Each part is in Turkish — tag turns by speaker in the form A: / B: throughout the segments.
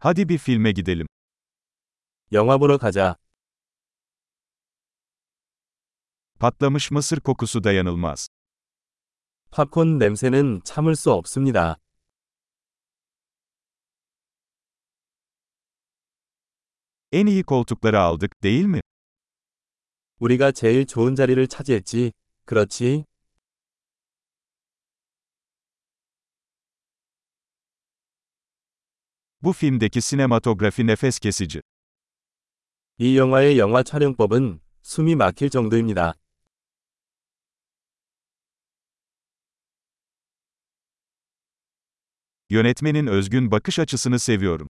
A: Hadi bir filme gidelim.
B: 영화 보러 가자.
A: Patlamış mısır kokusu dayanılmaz.
B: 팝콘 냄새는 참을 수 없습니다.
A: En iyi koltukları aldık, değil mi?
B: 우리가 제일 좋은 자리를 차지했지. 그렇지?
A: Bu filmdeki sinematografi nefes kesici.
B: 이 영화의 영화 촬영법은 숨이 막힐 정도입니다.
A: Yönetmenin özgün bakış açısını seviyorum.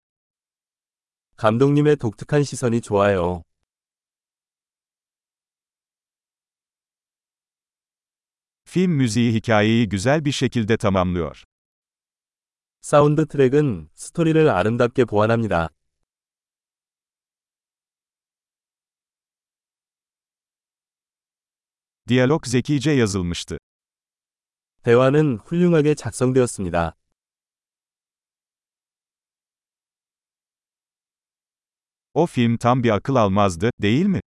B: 감독님의 독특한 시선이 좋아요.
A: Film müziği hikayeyi güzel bir şekilde tamamlıyor.
B: 사운드 트랙은 스토리를 아름답게 보완합니다.
A: Diyalog zekice yazılmıştı.
B: 대화는 훌륭하게 작성되었습니다.
A: O film tam bir akıl almazdı, değil mi?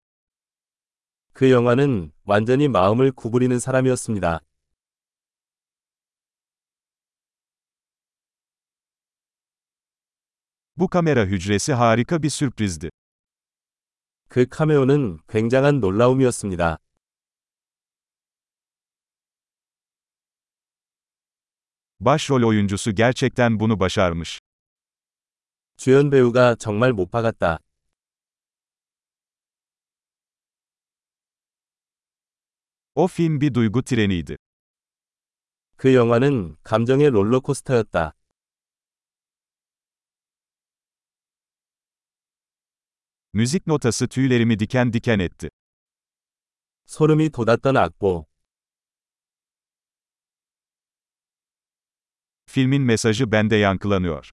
B: 그 영화는 완전히 마음을 구부리는 사람이었습니다.
A: Bu kamera hücresi harika bir sürprizdi.
B: 그 카메오는 굉장한 놀라움이었습니다.
A: Başrol oyuncusu gerçekten bunu başarmış.
B: 주연 배우가 정말 못 박았다.
A: O film bir duygu treniydi.
B: 그 영화는 감정의 롤러코스터였다.
A: Müzik notası tüylerimi diken diken etti.
B: 소름이 돋았던 악보.
A: Filmin mesajı bende yankılanıyor.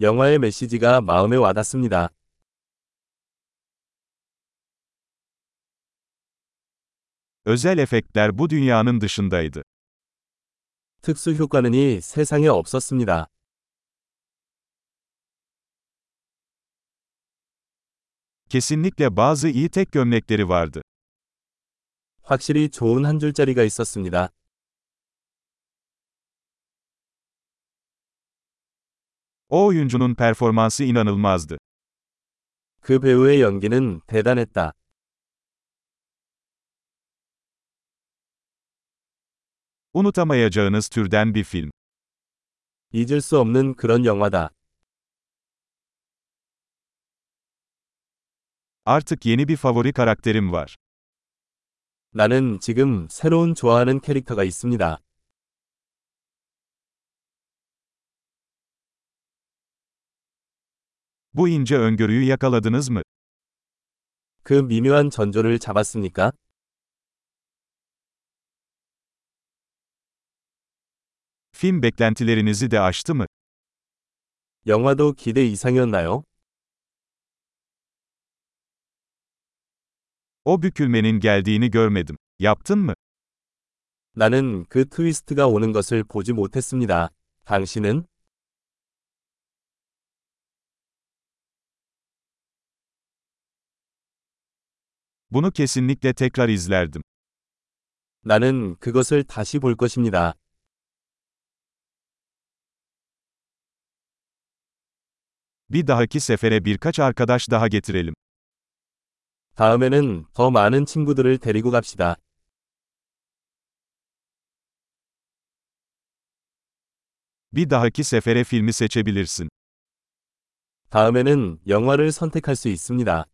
B: 영화의 메시지가 마음에 와닿습니다.
A: Özel efektler bu dünyanın dışındaydı.
B: 특수 효과는 이 세상에 없었습니다.
A: Kesinlikle bazı iyi tek gömlekleri vardı.
B: 확실히 좋은 한 줄짜리가 있었습니다.
A: O oyuncunun performansı inanılmazdı.
B: 그 배우의 연기는 대단했다.
A: Unutamayacağınız türden bir film.
B: 잊을 수 없는 그런 영화다.
A: Artık yeni bir favori karakterim var.
B: 나는 지금 새로운 좋아하는 캐릭터가 있습니다.
A: Bu ince öngörüyü yakaladınız mı?
B: 그 미묘한 전조를 잡았습니까?
A: Film beklentilerinizi de aştı mı?
B: 영화도 기대 이상이었나요?
A: O bükülmenin geldiğini görmedim. Yaptın mı?
B: 나는 그 트위스트가 오는 것을 보지 못했습니다. 당신은?
A: Bunu kesinlikle tekrar izlerdim.
B: 나는 그것을 다시 볼 것입니다.
A: Bir dahaki sefere birkaç arkadaş daha getirelim.
B: 다음에는 더 많은 친구들을 데리고 갑시다.
A: Bir dahaki sefere filmi seçebilirsin.
B: 다음에는 영화를 선택할 수 있습니다.